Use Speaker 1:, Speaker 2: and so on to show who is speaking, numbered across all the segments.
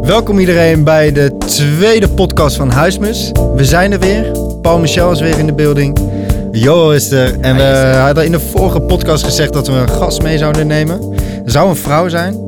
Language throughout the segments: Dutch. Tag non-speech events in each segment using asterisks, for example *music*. Speaker 1: Welkom iedereen bij de tweede podcast van Huismus. We zijn er weer. Paul Michel is weer in de building. Jo is er. En we
Speaker 2: Hij is
Speaker 1: hadden in de vorige podcast gezegd dat we een gast mee zouden nemen. Er zou een vrouw zijn.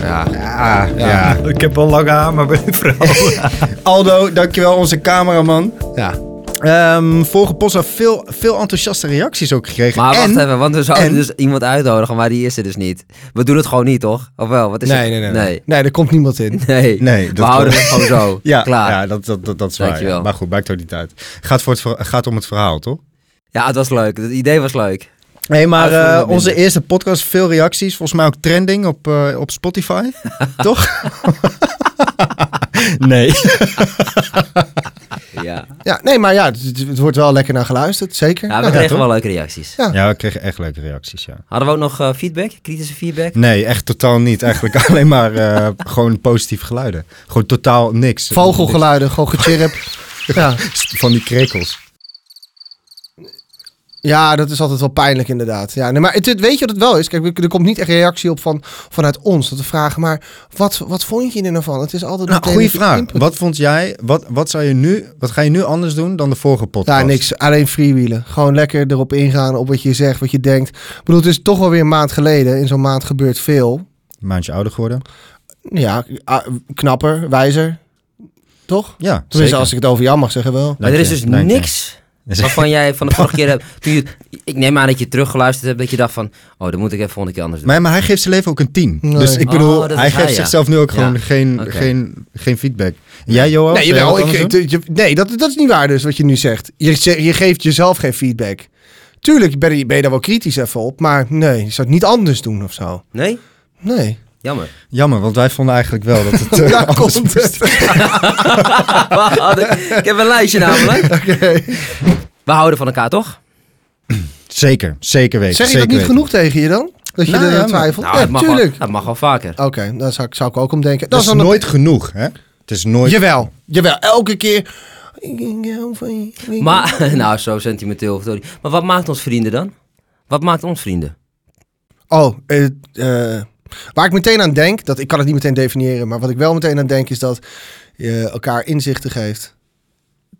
Speaker 2: Ja.
Speaker 1: Ja, ja.
Speaker 3: Ik heb al lange haar, maar ben een vrouw.
Speaker 1: *laughs* Aldo, dankjewel, onze cameraman.
Speaker 2: ja.
Speaker 1: Ehm, vorige post had veel, veel enthousiaste reacties ook gekregen.
Speaker 2: Maar
Speaker 1: en,
Speaker 2: wacht even, want we zouden
Speaker 1: en-
Speaker 2: dus iemand uitnodigen, maar die is er dus niet. We doen het gewoon niet, toch? Of wel? Wat is
Speaker 4: Nee,
Speaker 2: het?
Speaker 4: nee, nee,
Speaker 2: Nee,
Speaker 4: nee. Nee, er komt niemand in.
Speaker 2: nee. *laughs*
Speaker 1: Nee, dat
Speaker 2: we houden
Speaker 1: klopt.
Speaker 2: het gewoon
Speaker 1: *laughs*
Speaker 2: zo.
Speaker 1: Ja,
Speaker 2: Klaar. Ja.
Speaker 1: ja dat, dat, dat, dat is waar.
Speaker 2: Dankjewel.
Speaker 1: ja. Maar goed, maakt ook niet uit. Gaat, voor het, ver- gaat om het verhaal, toch?
Speaker 2: het was leuk. Het idee was leuk.
Speaker 1: Nee, maar
Speaker 2: Uitvoering
Speaker 1: eh,
Speaker 2: wat
Speaker 1: onze
Speaker 2: minder.
Speaker 1: eerste podcast, veel reacties. Volgens mij ook trending op, eh, op
Speaker 4: *laughs*
Speaker 1: Spotify. Toch? *laughs* nee.
Speaker 2: Ja,
Speaker 4: Ja, nee, maar ja, het, het wordt wel lekker naar geluisterd, zeker.
Speaker 2: ja
Speaker 4: Nou,
Speaker 2: we kregen
Speaker 1: toch?
Speaker 2: wel leuke reacties.
Speaker 4: Ja.
Speaker 1: Ja, we kregen echt leuke reacties, ja.
Speaker 2: Hadden we ook nog eh, feedback? Kritische feedback?
Speaker 1: Nee, echt totaal niet. Eigenlijk *laughs* alleen maar eh, gewoon positief geluiden. Gewoon totaal niks.
Speaker 4: Vogelgeluiden, gewoon gechirp.
Speaker 1: *laughs*
Speaker 4: ja.
Speaker 1: Niks Van die krekels.
Speaker 4: ja, dat is altijd wel pijnlijk inderdaad. Ja, nee, maar het, het- weet je wat het wel is? Kijk, er komt niet echt reactie op van, vanuit ons. Dat we vragen, maar wat, wat vond je er nou van? Het is altijd...
Speaker 1: Nou,
Speaker 4: meteen
Speaker 1: goede
Speaker 4: even
Speaker 1: vraag.
Speaker 4: input.
Speaker 1: Wat vond jij, wat, wat, zou je nu, wat ga je nu anders doen dan de vorige podcast?
Speaker 4: Ja, niks. Alleen freewheelen. Gewoon lekker erop ingaan, op wat je zegt, wat je denkt. Ik bedoel, het is toch wel weer een maand geleden. In zo'n maand gebeurt veel.
Speaker 1: Maandje ouder geworden.
Speaker 4: Ja, ah, knapper, wijzer. Toch?
Speaker 1: Ja,
Speaker 4: Tenminste, als ik het over jou mag zeggen wel.
Speaker 2: Maar er is
Speaker 1: Dank je,
Speaker 2: dus
Speaker 1: dank je.
Speaker 2: niks waarvan
Speaker 1: *laughs*
Speaker 2: jij van de vorige keer hebt... Toen je, ik neem aan dat je teruggeluisterd hebt, dat je dacht van... Oh, dat moet ik even volgende keer anders doen.
Speaker 1: Maar, maar hij geeft zijn leven ook een 10.
Speaker 4: Nee.
Speaker 1: Dus ik
Speaker 2: Oh,
Speaker 1: bedoel,
Speaker 2: dat is
Speaker 1: hij geeft
Speaker 2: hij, ja.
Speaker 1: zichzelf nu ook
Speaker 2: Ja.
Speaker 1: gewoon geen,
Speaker 2: Oké.
Speaker 1: geen, geen feedback. En jij, Johan?
Speaker 4: Nee,
Speaker 1: zou jij
Speaker 4: jawel,
Speaker 1: Oh, wat
Speaker 4: ik,
Speaker 1: anders doen?
Speaker 4: ik- je- nee dat, dat is niet waar dus wat je nu zegt. Je, ze- je geeft jezelf geen feedback. Tuurlijk ben je, ben je daar wel kritisch even op, maar nee, je zou het niet anders doen of zo.
Speaker 2: Nee?
Speaker 4: Nee.
Speaker 2: Jammer. *laughs*
Speaker 1: Jammer, want wij vonden eigenlijk wel dat
Speaker 4: *laughs*
Speaker 1: het... eh,
Speaker 4: Ja,
Speaker 1: anders
Speaker 4: komt
Speaker 1: moest.
Speaker 2: We houden- ik heb een lijstje namelijk.
Speaker 1: *laughs*
Speaker 2: We houden van elkaar, toch?
Speaker 1: Zeker, zeker weten.
Speaker 4: Zeg je
Speaker 1: zeker
Speaker 4: dat niet
Speaker 1: weten.
Speaker 4: genoeg tegen je dan? Dat je
Speaker 1: Nou
Speaker 4: er
Speaker 1: ja,
Speaker 4: aan
Speaker 1: maar-
Speaker 4: twijfelt?
Speaker 2: Nou,
Speaker 4: ja,
Speaker 2: dat, mag wel,
Speaker 4: tuurlijk.
Speaker 2: dat mag wel vaker.
Speaker 4: Oké, daar zou, ik- zou ik ook om denken.
Speaker 1: Dat
Speaker 4: Dat
Speaker 1: is
Speaker 4: dan een-
Speaker 1: nooit genoeg, hè? Het is nooit...
Speaker 4: Jawel, jawel, elke keer. Ik hou van je.
Speaker 2: Maar, *laughs* nou, zo sentimenteel. Sorry. Maar wat maakt ons vrienden dan? Wat maakt ons vrienden?
Speaker 4: Oh, eh, eh, waar ik meteen aan denk, dat, ik kan het niet meteen definiëren, maar wat ik wel meteen aan denk is dat je elkaar inzichten geeft.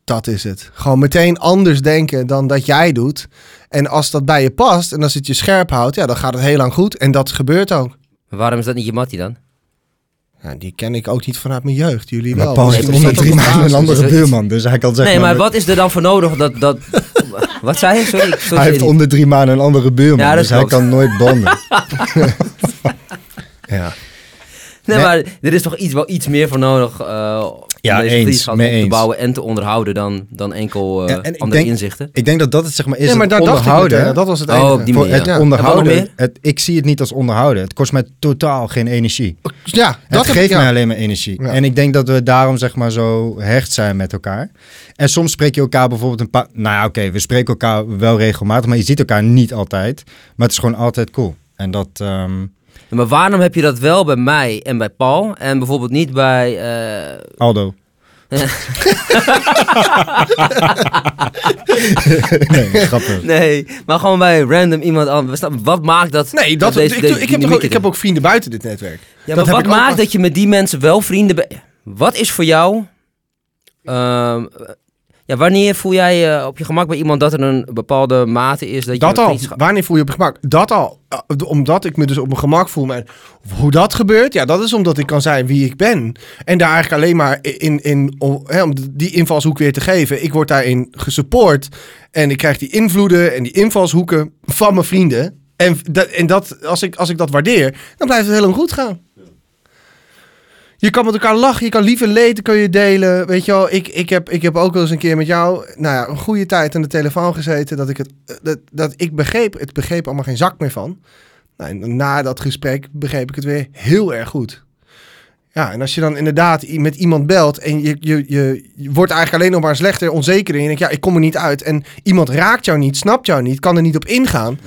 Speaker 4: Dat is het. Gewoon meteen anders denken dan dat jij doet. En als dat bij je past en als het je scherp houdt, ja, dan gaat het heel lang goed. En dat gebeurt ook.
Speaker 2: Waarom is dat niet je mattie dan?
Speaker 4: Ja, die ken ik ook niet vanuit mijn jeugd. Jullie
Speaker 1: Maar
Speaker 4: wel.
Speaker 1: Paul
Speaker 4: Dus
Speaker 1: heeft
Speaker 4: er zit
Speaker 1: onder
Speaker 4: ook
Speaker 1: drie maanden een
Speaker 4: basis.
Speaker 1: andere
Speaker 2: zoiets.
Speaker 1: buurman, dus hij kan zeggen...
Speaker 2: Nee, maar wat is er dan voor nodig dat... dat *laughs* wat zei je? Sorry, ik sorry,
Speaker 1: Hij heeft onder drie maanden een andere buurman,
Speaker 2: Ja, dat
Speaker 1: dus hij
Speaker 2: klopt.
Speaker 1: kan nooit
Speaker 2: *laughs*
Speaker 1: bonden.
Speaker 4: Ja.
Speaker 2: Nee, maar er is toch iets, wel iets meer voor nodig eh,
Speaker 1: Ja,
Speaker 2: om deze
Speaker 1: eens,
Speaker 2: vriendschap
Speaker 1: mee
Speaker 2: op te
Speaker 1: eens.
Speaker 2: bouwen en te onderhouden dan, dan enkel eh,
Speaker 1: En- en ik
Speaker 2: andere
Speaker 1: denk-
Speaker 2: inzichten.
Speaker 1: Ik denk dat dat het zeg maar is,
Speaker 4: Nee, maar
Speaker 1: het
Speaker 4: daar dacht ik
Speaker 1: onderhouden.
Speaker 4: meteen aan. Dat was het
Speaker 2: Oh,
Speaker 4: enige.
Speaker 2: op die
Speaker 1: voor
Speaker 2: manier.
Speaker 1: het
Speaker 2: Ja.
Speaker 1: onderhouden,
Speaker 2: En wat nog
Speaker 1: het, ik zie het niet als onderhouden. Het kost mij totaal geen energie.
Speaker 4: Ja, dat
Speaker 1: Dat
Speaker 4: heb
Speaker 1: geeft
Speaker 4: ik- ja.
Speaker 1: mij alleen maar energie.
Speaker 4: Ja.
Speaker 1: En ik denk dat we daarom zeg maar zo hecht zijn met elkaar. En soms spreek je elkaar bijvoorbeeld een paar... Nou ja, oké, we spreken elkaar wel regelmatig, maar je ziet elkaar niet altijd. Maar het is gewoon altijd cool. En dat... ehm,
Speaker 2: Maar waarom heb je dat wel bij mij en bij Paul en bijvoorbeeld niet bij... eh, *laughs*
Speaker 1: Aldo. nee, grappig.
Speaker 2: nee, maar gewoon bij random iemand anders. Snap- Wat maakt dat...
Speaker 4: Nee, dat,
Speaker 2: deze-
Speaker 4: ik,
Speaker 2: deze
Speaker 4: ik, heb toch ook,
Speaker 2: dynamiek
Speaker 4: ik heb
Speaker 2: erin?
Speaker 4: ook vrienden buiten dit netwerk.
Speaker 2: Ja, maar
Speaker 4: Dat heb
Speaker 2: wat
Speaker 4: ik ook
Speaker 2: maakt
Speaker 4: pas-
Speaker 2: dat je met die mensen wel vrienden bent? Wat is voor jou... ehm, ja, wanneer voel jij je op je gemak bij iemand dat er een bepaalde mate is dat,
Speaker 4: Dat
Speaker 2: je... een
Speaker 4: al.
Speaker 2: vriendschap-
Speaker 4: Wanneer voel je op je gemak? Dat al. Eh, Omdat ik me dus op mijn gemak voel. En hoe dat gebeurt? Ja, dat is omdat ik kan zijn wie ik ben. En daar eigenlijk alleen maar in, in om, hè, om die invalshoek weer te geven. Ik word daarin gesupport. En ik krijg die invloeden en die invalshoeken van mijn vrienden. En, dat, en dat, als, ik, als ik dat waardeer, dan blijft het heel lang goed gaan. Je kan met elkaar lachen, je kan lief en leed kun je delen. Weet je wel, ik, ik, heb, ik heb ook wel eens een keer met jou, nou ja, een goede tijd aan de telefoon gezeten. Dat ik het, eh, dat, dat ik begreep, het begreep allemaal geen zak meer van. Nou, en na dat gesprek begreep ik het weer heel erg goed. Ja, en als je dan inderdaad i- met iemand belt en je, je, je, je wordt eigenlijk alleen nog maar slechter, onzeker en je denkt, ja, ik kom er niet uit. En iemand raakt jou niet, snapt jou niet, kan er niet op ingaan.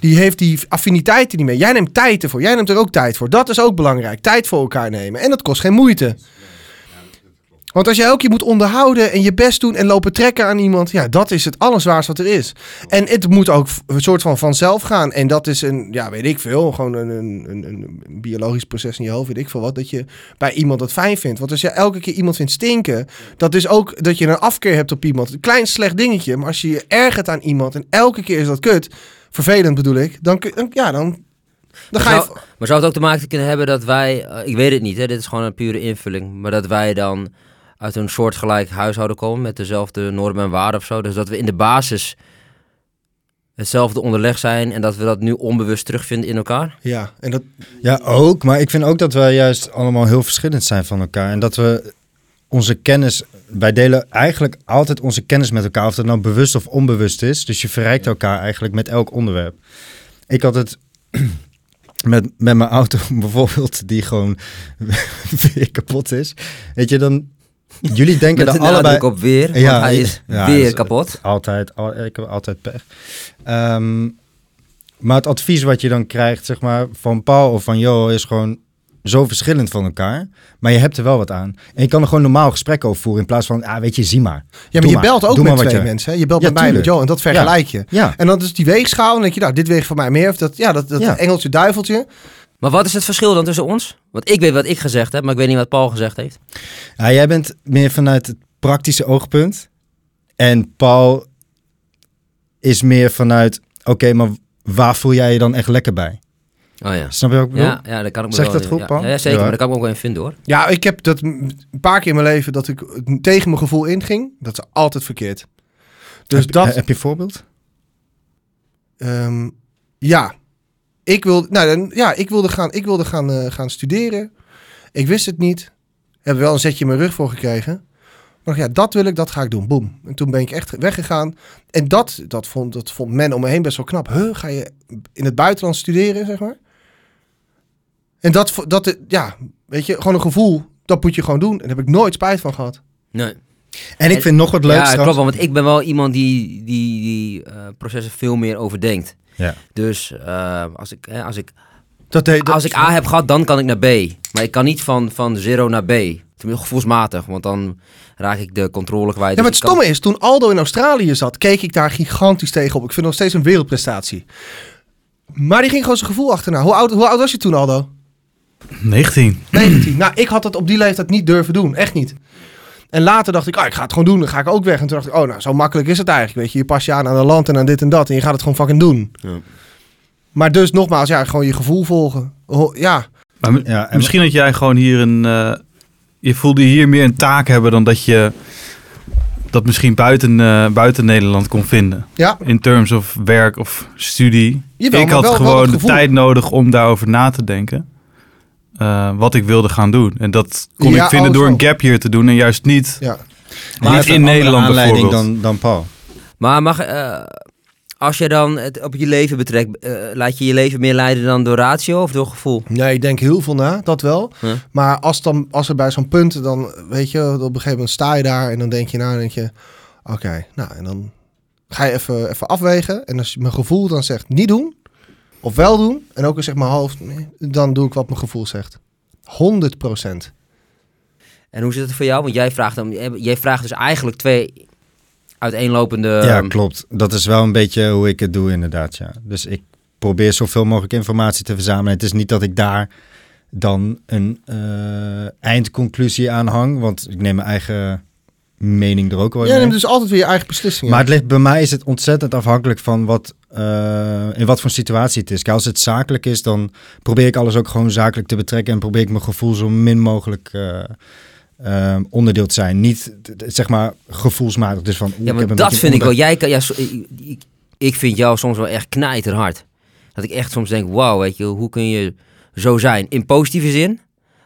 Speaker 4: Die heeft die affiniteiten niet meer. Jij neemt tijd ervoor. Jij neemt er ook tijd voor. Dat is ook belangrijk. Tijd voor elkaar nemen. En dat kost geen moeite. Want als je elke keer moet onderhouden en je best doen en lopen trekken aan iemand, ja, dat is het allerzwaarst wat er is. En het moet ook v- een soort van vanzelf gaan. En dat is een, ja, weet ik veel, gewoon een, een, een, een biologisch proces in je hoofd, weet ik veel wat, dat je bij iemand dat fijn vindt. Want als je elke keer iemand vindt stinken, dat is ook dat je een afkeer hebt op iemand. Een klein slecht dingetje, maar als je je ergert aan iemand en elke keer is dat kut, vervelend bedoel ik, dan, kun- dan- ja, dan, dan ga je...
Speaker 2: zou, maar zou het ook te maken kunnen hebben dat wij, eh, ik weet het niet, hè, dit is gewoon een pure invulling, maar dat wij dan uit een soortgelijk huishouden komen met dezelfde normen en waarden of zo. Dus dat we in de basis hetzelfde onderleg zijn en dat we dat nu onbewust terugvinden in elkaar.
Speaker 4: Ja, en dat,
Speaker 1: Ja, ook. Maar ik vind ook dat wij juist allemaal heel verschillend zijn van elkaar. En dat we onze kennis... Wij delen eigenlijk altijd onze kennis met elkaar. Of dat nou bewust of onbewust is. Dus je verrijkt elkaar eigenlijk met elk onderwerp. Ik had het... *clears throat* Met, met mijn auto *laughs* bijvoorbeeld, die gewoon *laughs* weer kapot is. Weet je, dan... Jullie denken
Speaker 2: Met
Speaker 1: dat
Speaker 2: de
Speaker 1: allebei...
Speaker 2: nadruk op weer, want
Speaker 1: Ja,
Speaker 2: hij is
Speaker 1: ja,
Speaker 2: weer
Speaker 1: dus-
Speaker 2: kapot.
Speaker 1: Altijd, al- ik heb altijd pech. Ehm, maar het advies wat je dan krijgt, zeg maar, van Paul of van Jo is gewoon zo verschillend van elkaar. Maar je hebt er wel wat aan. En je kan er gewoon normaal gesprek over voeren in plaats van, ah, weet je, zie maar.
Speaker 4: Ja, maar
Speaker 1: Doe
Speaker 4: je belt ook
Speaker 1: Doe
Speaker 4: met
Speaker 1: maar wat
Speaker 4: twee
Speaker 1: je-
Speaker 4: mensen. Hè? Je belt
Speaker 1: Ja,
Speaker 4: met mij en met
Speaker 1: tuurlijk.
Speaker 4: Joe en dat vergelijk je.
Speaker 1: Ja.
Speaker 4: En dan is die weegschaal en dan denk je, nou, dit weegt voor mij meer. Of dat, ja, dat, dat
Speaker 1: Ja.
Speaker 4: engeltje duiveltje.
Speaker 2: Maar wat is het verschil dan tussen ons? Want ik weet wat ik gezegd heb, maar ik weet niet wat Paul gezegd heeft.
Speaker 1: Ja, jij bent meer vanuit het praktische oogpunt. En Paul is meer vanuit, oké, maar waar voel jij je dan echt lekker bij?
Speaker 2: Oh ja.
Speaker 1: Snap je wat ik bedoel?
Speaker 2: Ja, ja, dat kan ik me
Speaker 1: Zeg
Speaker 2: wel-
Speaker 1: dat goed,
Speaker 2: ja,
Speaker 1: Paul?
Speaker 2: Ja, zeker,
Speaker 1: Ja.
Speaker 2: maar daar kan ik me ook wel in vinden hoor.
Speaker 4: Ja, ik heb dat m- een paar keer in mijn leven dat ik eh, tegen mijn gevoel inging. Dat is altijd verkeerd. Dus
Speaker 1: heb,
Speaker 4: dat...
Speaker 1: heb je een voorbeeld?
Speaker 4: Ehm, ja. Ik, wil, nou, dan- ja, ik wilde, gaan, ik wilde gaan, eh, gaan studeren. Ik wist het niet. Heb er wel een zetje in mijn rug voor gekregen. Maar ja, dat wil ik, dat ga ik doen. Boom. En toen ben ik echt weggegaan. En dat, dat, vond, dat vond men om me heen best wel knap. Huh, ga je in het buitenland studeren, zeg maar? En dat, vo- dat, eh, ja, weet je, gewoon een gevoel. Dat moet je gewoon doen. En daar heb ik nooit spijt van gehad.
Speaker 2: Nee.
Speaker 1: En ik
Speaker 2: En-
Speaker 1: vind nog wat leuks
Speaker 2: ja,
Speaker 1: trouwens-
Speaker 2: klopt, wel, want ik ben wel iemand die, die, die eh, processen veel meer overdenkt.
Speaker 1: Ja.
Speaker 2: Dus eh, als, ik, hè, als, ik,
Speaker 4: Dat deed,
Speaker 2: als ik A heb gehad, dan kan ik naar B. Maar ik kan niet van, van 0 naar B. Tenminste, gevoelsmatig, want dan raak ik de controle kwijt.
Speaker 4: Ja, maar het
Speaker 2: Dus ik kan-
Speaker 4: stomme is, toen Aldo in Australië zat, keek ik daar gigantisch tegen op. Ik vind het nog steeds een wereldprestatie. Maar die ging gewoon zijn gevoel achterna. Hoe oud, hoe oud was je toen, Aldo? *clears throat*
Speaker 3: 19.
Speaker 4: 19. nou, ik had dat op die leeftijd niet durven doen. Echt niet. En later dacht ik, ah, ik ga het gewoon doen. Dan ga ik ook weg. En toen dacht ik, oh, nou, zo makkelijk is het eigenlijk. Weet je, je pas je aan aan een land en aan dit en dat. En je gaat het gewoon fucking doen.
Speaker 2: Ja.
Speaker 4: Maar dus nogmaals, ja, gewoon je gevoel volgen. Ho- ja,
Speaker 3: Maar mi-
Speaker 1: Ja, en-
Speaker 3: misschien dat jij gewoon hier een... eh, je voelde hier meer een taak hebben dan dat je dat misschien buiten, eh, buiten Nederland kon vinden.
Speaker 4: ja.
Speaker 3: In terms of werk of studie.
Speaker 4: Jawel,
Speaker 3: ik
Speaker 4: maar
Speaker 3: had
Speaker 4: wel- wel
Speaker 3: gewoon
Speaker 4: het
Speaker 3: de
Speaker 4: gevoel.
Speaker 3: tijd nodig om daarover na te denken. eh, wat ik wilde gaan doen. En dat kon
Speaker 4: Ja,
Speaker 3: ik vinden
Speaker 4: oh,
Speaker 3: door
Speaker 4: zo.
Speaker 3: een gap year te doen en juist niet.
Speaker 4: ja.
Speaker 1: Maar
Speaker 3: niet
Speaker 1: even een
Speaker 3: in
Speaker 1: andere
Speaker 3: Nederland
Speaker 1: aanleiding dan,
Speaker 3: bijvoorbeeld.
Speaker 1: dan Paul.
Speaker 2: Maar mag, eh, als je dan het op je leven betrekt, eh, laat je je leven meer leiden dan door ratio of door gevoel?
Speaker 4: Nee, ik denk heel veel na, dat wel.
Speaker 2: Ja.
Speaker 4: Maar als, dan, als er bij zo'n punt, dan weet je, op een gegeven moment sta je daar en dan denk je, nou, dan denk je, oké, nou, en dan ga je even, even afwegen. En als mijn gevoel dan zegt niet doen, of wel doen, en ook al zegt mijn hoofd, nee, dan doe ik wat mijn gevoel zegt. 100 procent.
Speaker 2: En hoe zit het voor jou? Want jij vraagt, dan, jij vraagt dus eigenlijk twee uiteenlopende...
Speaker 1: ja,
Speaker 2: ehm,
Speaker 1: klopt. Dat is wel een beetje hoe ik het doe, inderdaad. Ja. Dus ik probeer zoveel mogelijk informatie te verzamelen. Het is niet dat ik daar dan een eh, eindconclusie aan hang, want ik neem mijn eigen mening er ook wel in.
Speaker 4: Jij
Speaker 1: mee.
Speaker 4: neemt dus altijd weer je eigen beslissingen.
Speaker 1: Maar het ligt, bij mij is het ontzettend afhankelijk van wat, eh, in wat voor situatie het is. Kijk, als het zakelijk is, dan probeer ik alles ook gewoon zakelijk te betrekken. En probeer ik mijn gevoel zo min mogelijk eh, ehm, onderdeel te zijn. Niet, t- t- zeg maar, gevoelsmatig. Dus van, oeh,
Speaker 2: Ja,
Speaker 1: ik heb
Speaker 2: maar
Speaker 1: een
Speaker 2: dat
Speaker 1: beetje
Speaker 2: vind ik wel.
Speaker 1: onder-
Speaker 2: Jij kan, ja, so- ik, ik- ik vind jou soms wel echt knijterhard. Dat ik echt soms denk, wauw, weet je, hoe kun je zo zijn? In positieve zin,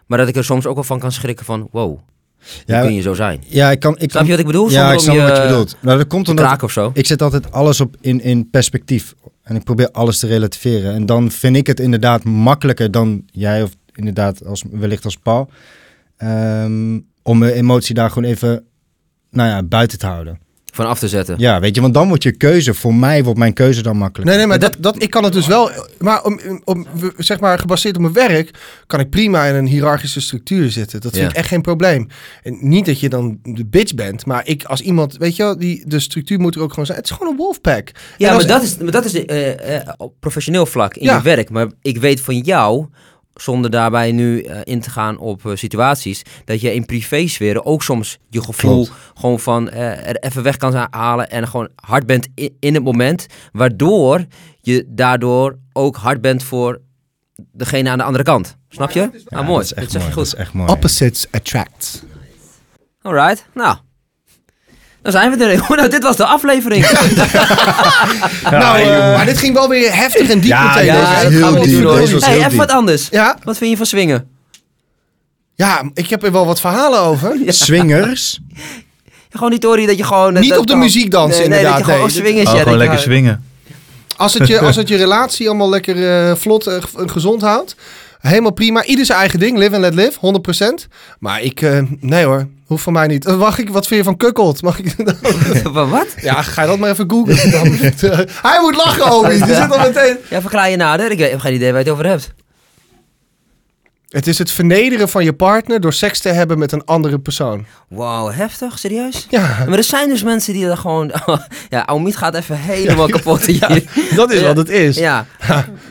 Speaker 2: maar dat ik er soms ook wel van kan schrikken van, wow, hoe
Speaker 1: Ja,
Speaker 2: kun je zo zijn?
Speaker 1: Ja, ik kan... Ik
Speaker 2: Snap je
Speaker 1: kan,
Speaker 2: wat ik
Speaker 1: ja,
Speaker 2: bedoel? Zonder
Speaker 1: ik
Speaker 2: om
Speaker 1: snap wat je
Speaker 2: eh,
Speaker 1: bedoelt. Nou, dat komt
Speaker 2: Te
Speaker 1: omdat
Speaker 2: kraken of zo.
Speaker 1: Ik zet altijd alles op in, in perspectief. En ik probeer alles te relativeren. En dan vind ik het inderdaad makkelijker dan jij, of inderdaad als, wellicht als Paul, ehm, om mijn emotie daar gewoon even nou ja, buiten te houden.
Speaker 2: van af te zetten.
Speaker 1: Ja, weet je, want dan wordt je keuze, voor mij wordt mijn keuze dan makkelijk.
Speaker 4: Nee, nee, maar dat, dat, ik kan het dus wel. Maar om, om, zeg maar, gebaseerd op mijn werk kan ik prima in een hiërarchische structuur zitten. Dat vind
Speaker 2: Ja.
Speaker 4: ik echt geen probleem. En niet dat je dan de bitch bent, maar ik als iemand, weet je wel, die, de structuur moet er ook gewoon zijn. Het is gewoon een wolfpack. En
Speaker 2: Ja,
Speaker 4: als-
Speaker 2: maar dat is, maar dat is eh, eh, op professioneel vlak in
Speaker 4: Ja.
Speaker 2: je werk. Maar ik weet van jou, zonder daarbij nu eh, in te gaan op eh, situaties, dat je in privésferen ook soms je gevoel
Speaker 1: Klopt.
Speaker 2: gewoon van eh, er even weg kan halen en gewoon hard bent i- in het moment. Waardoor je daardoor ook hard bent voor degene aan de andere kant. Snap je?
Speaker 1: Ja,
Speaker 2: ah, mooi.
Speaker 1: Dat is echt
Speaker 2: zeg
Speaker 1: mooi.
Speaker 2: je
Speaker 1: Dat
Speaker 2: goed.
Speaker 1: is echt mooi.
Speaker 4: Opposites attract.
Speaker 2: Alright, nou. Dan zijn we er. *laughs* Nou, dit was de aflevering.
Speaker 1: *laughs*
Speaker 4: nou, eh,
Speaker 3: joh.
Speaker 4: maar dit ging wel weer heftig en diep
Speaker 3: Ja,
Speaker 4: meteen.
Speaker 3: ja,
Speaker 4: deze.
Speaker 1: dat
Speaker 2: dat
Speaker 1: heel
Speaker 2: gaan we
Speaker 1: diep.
Speaker 2: doen hoor.
Speaker 1: Deze was
Speaker 2: Hey,
Speaker 1: heel
Speaker 2: even
Speaker 1: diep.
Speaker 2: wat anders.
Speaker 4: ja,
Speaker 2: Wat vind je van swingen?
Speaker 4: ja, ik heb er wel wat verhalen over.
Speaker 1: Swingers,
Speaker 2: Gewoon die tory dat je gewoon... eh,
Speaker 4: Niet
Speaker 2: dat
Speaker 4: op de
Speaker 2: kan-
Speaker 4: muziek dansen,
Speaker 2: nee,
Speaker 4: inderdaad,
Speaker 2: Nee, dat je gewoon
Speaker 4: nee.
Speaker 2: op swingen
Speaker 3: Oh,
Speaker 2: zit.
Speaker 3: gewoon
Speaker 2: Ik
Speaker 3: lekker
Speaker 2: hou-
Speaker 3: swingen.
Speaker 4: Als het, je, *laughs* als het je relatie allemaal lekker eh, vlot en ge- en gezond houdt. Helemaal prima. Ieder zijn eigen ding. Live and let live. 100%. Maar ik... eh, nee hoor. Hoeft van mij niet. Eh, mag ik... Wat vind je van kukkelt? Mag ik... *laughs*
Speaker 2: *laughs* Wa- Wat?
Speaker 4: ja, ga je dat maar even googlen. Dan. *laughs* Hij moet lachen, Obi. Die zit al meteen...
Speaker 2: Ja, verklaar je nader. Ik heb geen idee waar je het over hebt.
Speaker 4: Het is het vernederen van je partner door seks te hebben met een andere persoon.
Speaker 2: Wow, heftig? Serieus?
Speaker 4: Ja,
Speaker 2: Maar er zijn dus mensen die dat gewoon... *laughs* ja, Omiet gaat even
Speaker 4: *laughs*
Speaker 2: helemaal kapot hier.
Speaker 4: dat is
Speaker 2: Ja.
Speaker 4: wat het is.
Speaker 2: Ja.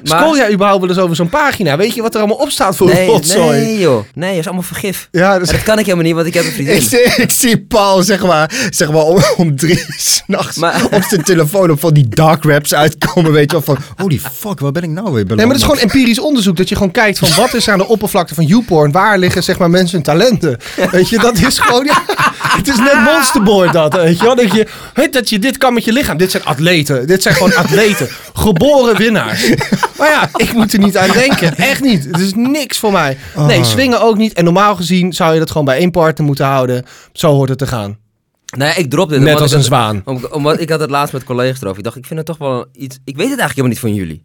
Speaker 4: Scroll jij überhaupt wel eens over zo'n pagina? Weet je wat er allemaal op staat voor een
Speaker 2: nee,
Speaker 4: rotzooi?
Speaker 2: nee, joh. Nee, dat is allemaal
Speaker 4: *laughs*
Speaker 2: vergif.
Speaker 4: Ja, dat
Speaker 2: En
Speaker 4: is...
Speaker 2: dat kan ik helemaal niet, want ik heb
Speaker 1: *laughs*
Speaker 2: een
Speaker 1: ik,
Speaker 2: vriendin.
Speaker 1: zie, ik zie Paul zeg maar, zeg maar om, om drie s'nachts
Speaker 2: Maar-
Speaker 1: op zijn telefoon op van die dark raps uitkomen. Weet je wel van, holy fuck, waar ben ik nou weer beland?
Speaker 4: Nee, maar het is gewoon empirisch onderzoek. Dat je gewoon kijkt van wat is er aan de oppervlakte van YouPorn. Waar liggen zeg maar mensen hun talenten. Weet je, dat is gewoon... Ja, het is net monsterboard dat, weet je wel. Dat je, hè, dat je dit kan met je lichaam. Dit zijn atleten. Dit zijn gewoon atleten. Geboren winnaars. Maar ja, ik moet er niet aan denken. Echt niet. Het is niks voor mij. Nee, swingen ook niet. En normaal gezien zou je dat gewoon bij één partner moeten houden. Zo hoort het te gaan.
Speaker 2: Nee, ik drop dit.
Speaker 4: Net
Speaker 2: omdat
Speaker 4: als
Speaker 2: ik
Speaker 4: een
Speaker 2: het-
Speaker 4: zwaan.
Speaker 2: om, omdat ik had het laatst met collega's erover. Ik dacht, ik vind het toch wel iets... Ik weet het eigenlijk helemaal niet van jullie.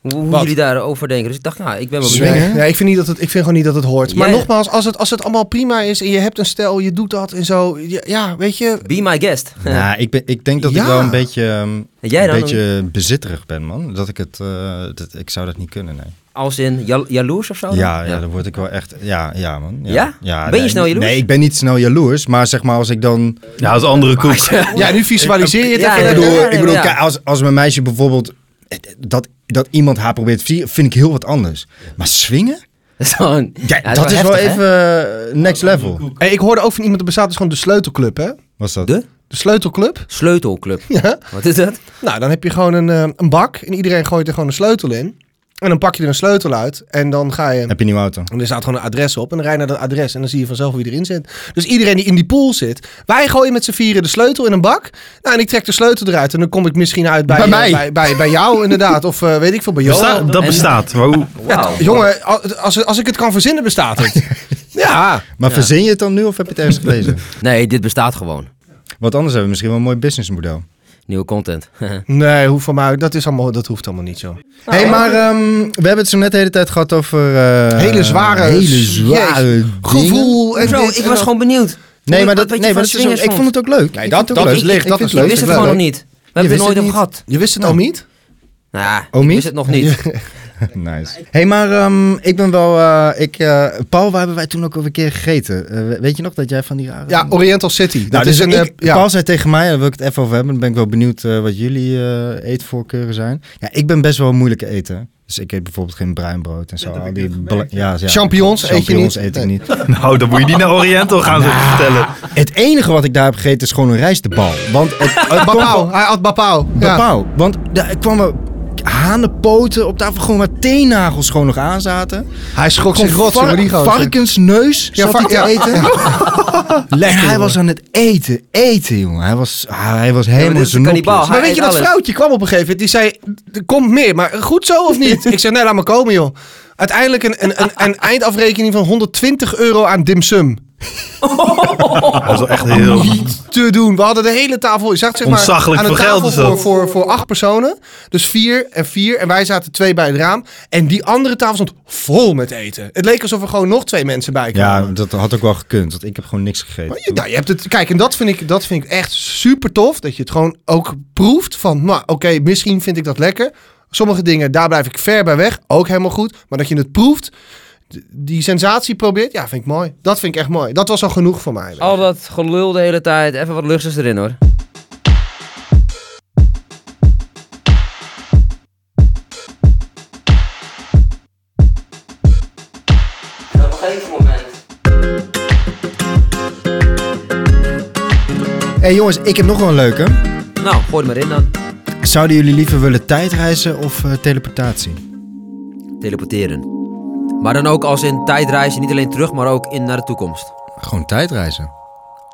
Speaker 2: Hoe, hoe
Speaker 4: Wat?
Speaker 2: jullie daarover denken. Dus ik dacht, nou, ik ben wel benieuwd.
Speaker 1: Swingen?
Speaker 4: Nee, nee, ik, vind niet dat het, ik vind gewoon niet dat het hoort. Maar
Speaker 2: Jij-
Speaker 4: nogmaals, als het, als het allemaal prima is en je hebt een stel, je doet dat en zo. Ja, ja, weet je.
Speaker 2: Be my guest.
Speaker 1: Nou, ik, ben, ik denk dat
Speaker 4: Ja.
Speaker 1: ik wel een beetje, ehm,
Speaker 2: En jij dan?
Speaker 1: een beetje bezitterig ben, man. Dat ik het, eh, dat, ik zou dat niet kunnen, nee.
Speaker 2: *laughs* Als in jal- jaloers of zo? Oh, dan?
Speaker 1: Ja, ja,
Speaker 2: *laughs*
Speaker 1: dan word ik wel echt. Ja, ja man.
Speaker 2: Ja? Ben je
Speaker 1: nee,
Speaker 2: snel jaloers?
Speaker 1: Nee, ik ben niet snel jaloers. Maar zeg maar als ik dan.
Speaker 3: Ja, als andere koek.
Speaker 4: Ja, nu visualiseer je het.
Speaker 2: Ja,
Speaker 4: even.
Speaker 1: ik bedoel,
Speaker 2: ja, ja,
Speaker 1: ik bedoel
Speaker 2: ja.
Speaker 1: kijk, als, als mijn meisje bijvoorbeeld. Dat, dat iemand haar probeert te vliegen, vind ik heel wat anders. Maar swingen?
Speaker 2: Dat is gewoon...
Speaker 1: Ja,
Speaker 2: Ja,
Speaker 1: dat, is wel
Speaker 2: heftig,
Speaker 1: even eh, next level.
Speaker 4: Hey, ik hoorde ook van iemand, er bestaat dus gewoon de sleutelclub, hè?
Speaker 1: Was dat?
Speaker 2: De-
Speaker 4: De sleutelclub.
Speaker 2: hè? Sleutelclub.
Speaker 4: Ja.
Speaker 2: Wat
Speaker 1: *laughs*
Speaker 2: is dat?
Speaker 4: Nou, dan heb je gewoon een, eh, een bak en iedereen gooit er gewoon een sleutel in. En dan pak je er een sleutel uit en dan ga je...
Speaker 1: Heb je een nieuwe auto?
Speaker 4: En er staat gewoon een adres op en dan rij je naar dat adres en dan zie je vanzelf wie erin zit. Dus iedereen die in die pool zit, wij gooien met z'n vieren de sleutel in een bak. Nou, en ik trek de sleutel eruit en dan kom ik misschien uit bij, eh,
Speaker 1: Bij mij.
Speaker 4: bij, bij, bij jou inderdaad. Of eh, weet ik veel, bij jou.
Speaker 3: Besta- dat
Speaker 2: En-
Speaker 3: bestaat. Maar hoe- *laughs*
Speaker 2: Wauw.
Speaker 4: Jongen, als- als, als ik het kan verzinnen, bestaat het. ja.
Speaker 1: Maar verzin je het dan nu of heb je het
Speaker 2: *laughs*
Speaker 1: ergens gelezen?
Speaker 2: Nee, dit bestaat gewoon.
Speaker 1: Want anders hebben we misschien wel een mooi businessmodel.
Speaker 2: Nieuwe content. *laughs*
Speaker 4: Nee, hoeft van mij. Dat, is allemaal, dat hoeft allemaal niet zo.
Speaker 1: Hé, hey, maar ehm, we hebben het zo net de hele tijd gehad over... eh,
Speaker 4: Hele zware-
Speaker 1: Hele zware dingen.
Speaker 4: Gevoel en
Speaker 2: Zo,
Speaker 4: dit
Speaker 2: ik
Speaker 4: en
Speaker 2: was
Speaker 4: dat.
Speaker 2: gewoon benieuwd.
Speaker 1: Nee, maar
Speaker 2: Wat
Speaker 1: dat,
Speaker 2: weet
Speaker 1: nee,
Speaker 2: je
Speaker 1: maar
Speaker 2: van
Speaker 1: dat is ook,
Speaker 2: swingers
Speaker 1: ik vond het ook leuk.
Speaker 4: Nee,
Speaker 1: Ik
Speaker 4: dat-
Speaker 1: vind het
Speaker 4: dat
Speaker 1: ook
Speaker 4: is
Speaker 1: leuk.
Speaker 4: licht,
Speaker 1: Ik
Speaker 4: dat
Speaker 1: vind
Speaker 4: is
Speaker 1: het
Speaker 2: Je
Speaker 4: leuk.
Speaker 1: leuk.
Speaker 2: wist het
Speaker 4: wel
Speaker 2: gewoon nog
Speaker 4: leuk.
Speaker 2: niet. We hebben het er
Speaker 1: wist
Speaker 2: nooit
Speaker 1: het
Speaker 2: over gehad.
Speaker 4: Je wist het al niet?
Speaker 2: Nou,
Speaker 1: Omi?
Speaker 2: ik wist het nog niet.
Speaker 1: *laughs* Nice. Hé, hey, maar ehm, ik ben wel... eh, ik, eh, Paul, waar hebben wij toen ook alweer een keer gegeten? Eh, weet je nog dat jij van die rare...
Speaker 4: Ja, Oriental City.
Speaker 1: nou,
Speaker 4: dat
Speaker 1: dus
Speaker 4: is een,
Speaker 1: ik,
Speaker 4: eh, ja.
Speaker 1: Paul zei tegen mij, daar wil ik het even over hebben. Dan ben ik wel benieuwd eh, wat jullie eh, eetvoorkeuren zijn. Ja, ik ben best wel een moeilijke eten. Dus ik eet bijvoorbeeld geen bruinbrood en zo. Al die bla- ja, ja.
Speaker 4: Champignons eet je
Speaker 1: Champignons
Speaker 4: niet?
Speaker 1: eet ik
Speaker 4: Nee.
Speaker 1: niet.
Speaker 3: nou, dan moet je niet naar Oriental gaan zitten
Speaker 4: *laughs*
Speaker 3: vertellen.
Speaker 1: Het enige wat ik daar heb gegeten is gewoon een rijstebal. Want het, het komt wel-
Speaker 4: Bapau. Hij had Bapau. Ja.
Speaker 1: Bapau. Want daar kwamen hanenpoten op tafel, gewoon waar teennagels gewoon nog aan zaten.
Speaker 4: Hij schrok zich rot,
Speaker 1: var-
Speaker 4: jongen, die gozer.
Speaker 1: varkensneus
Speaker 4: Ja,
Speaker 1: zat hij
Speaker 4: vark-
Speaker 1: te
Speaker 4: ja.
Speaker 1: eten. en hij was aan het eten, eten jongen. Hij was, hij was helemaal
Speaker 2: dit is
Speaker 1: zijn
Speaker 2: een
Speaker 1: nopjes.
Speaker 2: kannibaal.
Speaker 4: Maar
Speaker 2: Hij
Speaker 4: weet je,
Speaker 2: eet
Speaker 4: dat
Speaker 2: alles.
Speaker 4: vrouwtje kwam op een gegeven moment. Die zei, er komt meer, maar goed zo of niet? ik zei, nee, laat maar komen, joh. Uiteindelijk een, een, een, een eindafrekening van 120 euro aan dim sum.
Speaker 3: Dat is wel echt heel...
Speaker 4: niet te doen. We hadden de hele tafel, je zag het zeg maar,
Speaker 3: Ontzaglijk
Speaker 4: aan de
Speaker 3: veel geld
Speaker 4: tafel
Speaker 3: is
Speaker 4: voor,
Speaker 3: dat.
Speaker 4: voor, voor acht personen. Dus vier en vier. En wij zaten twee bij het raam. En die andere tafel stond vol met eten. Het leek alsof er gewoon nog twee mensen bij kwamen.
Speaker 1: Ja, dat had ook wel gekund, want ik heb gewoon niks
Speaker 4: Maar
Speaker 1: gegeten.
Speaker 4: je, nou, je hebt het, kijk, en dat vind, ik, dat vind ik echt super tof. Dat je het gewoon ook proeft van, nou oké, misschien vind ik dat lekker. Sommige dingen, daar blijf ik ver bij weg. Ook helemaal goed. Maar dat je het proeft, d- die sensatie probeert, ja, vind ik mooi. Dat vind ik echt mooi. Dat was al genoeg voor mij.
Speaker 2: Al dat gelul de hele tijd. Even wat luchtjes erin hoor. Op een gegeven moment.
Speaker 1: hey, jongens, ik heb nog wel een leuke.
Speaker 2: Nou, gooi er maar in dan.
Speaker 1: Zouden jullie liever willen tijdreizen of eh, teleportatie?
Speaker 2: Teleporteren. Maar dan ook als in tijdreizen, niet alleen terug, maar ook in naar de toekomst.
Speaker 1: Gewoon tijdreizen.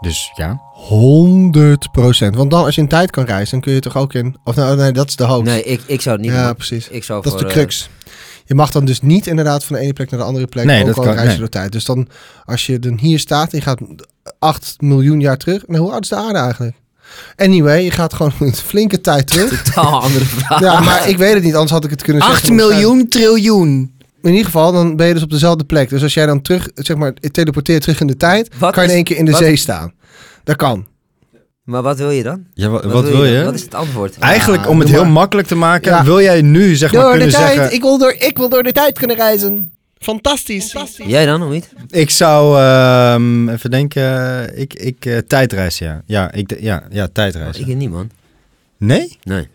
Speaker 1: Dus ja.
Speaker 4: 100 procent. Want dan, als je in tijd kan reizen, dan kun je toch ook in... Of nou, nee, dat is de hoax.
Speaker 2: Nee, ik, ik zou het niet
Speaker 4: ja,
Speaker 2: doen.
Speaker 4: precies.
Speaker 2: Ik zou
Speaker 4: Dat is de
Speaker 2: voor, eh, *laughs*
Speaker 4: crux. Je mag dan dus niet inderdaad van de ene plek naar de andere plek.
Speaker 1: Nee,
Speaker 4: ook
Speaker 1: dat
Speaker 4: al
Speaker 1: kan-
Speaker 4: reis je
Speaker 1: nee.
Speaker 4: door tijd. Dus dan, als je dan hier staat en je gaat 8 miljoen jaar terug. Nou, hoe oud is de aarde eigenlijk? Anyway, je gaat gewoon een flinke tijd
Speaker 5: *laughs*
Speaker 4: terug.
Speaker 2: eh, totaal andere vraag.
Speaker 4: ja, maar ik weet het niet, anders had ik het kunnen
Speaker 5: 8
Speaker 4: zeggen.
Speaker 5: miljoen triljoen.
Speaker 4: In ieder geval, dan ben je dus op dezelfde plek. Dus als jij dan terug, zeg maar, teleporteert terug in de tijd,
Speaker 2: Wat
Speaker 4: kan je in
Speaker 2: is-
Speaker 4: één keer in de
Speaker 2: wat-
Speaker 4: zee staan. Dat kan.
Speaker 2: Maar wat wil je dan?
Speaker 1: ja wat, wat wil je?
Speaker 2: Wat is het antwoord?
Speaker 1: Eigenlijk,
Speaker 4: Ja,
Speaker 1: om het
Speaker 4: doe
Speaker 1: heel
Speaker 4: maar.
Speaker 1: makkelijk te maken,
Speaker 4: Ja.
Speaker 1: wil jij nu zeg maar
Speaker 5: Door de
Speaker 1: kunnen
Speaker 5: tijd.
Speaker 1: zeggen... Ik,
Speaker 5: Ik, wil door, ik wil door de tijd kunnen reizen. Fantastisch.
Speaker 2: Jij dan, of niet?
Speaker 1: zou, ehm, even denken, ik, ik eh, tijdreizen, ja. Ja, ik, d- ja, ja tijdreizen.
Speaker 2: Oh, Ik niet, man.
Speaker 1: Nee?
Speaker 2: Nee.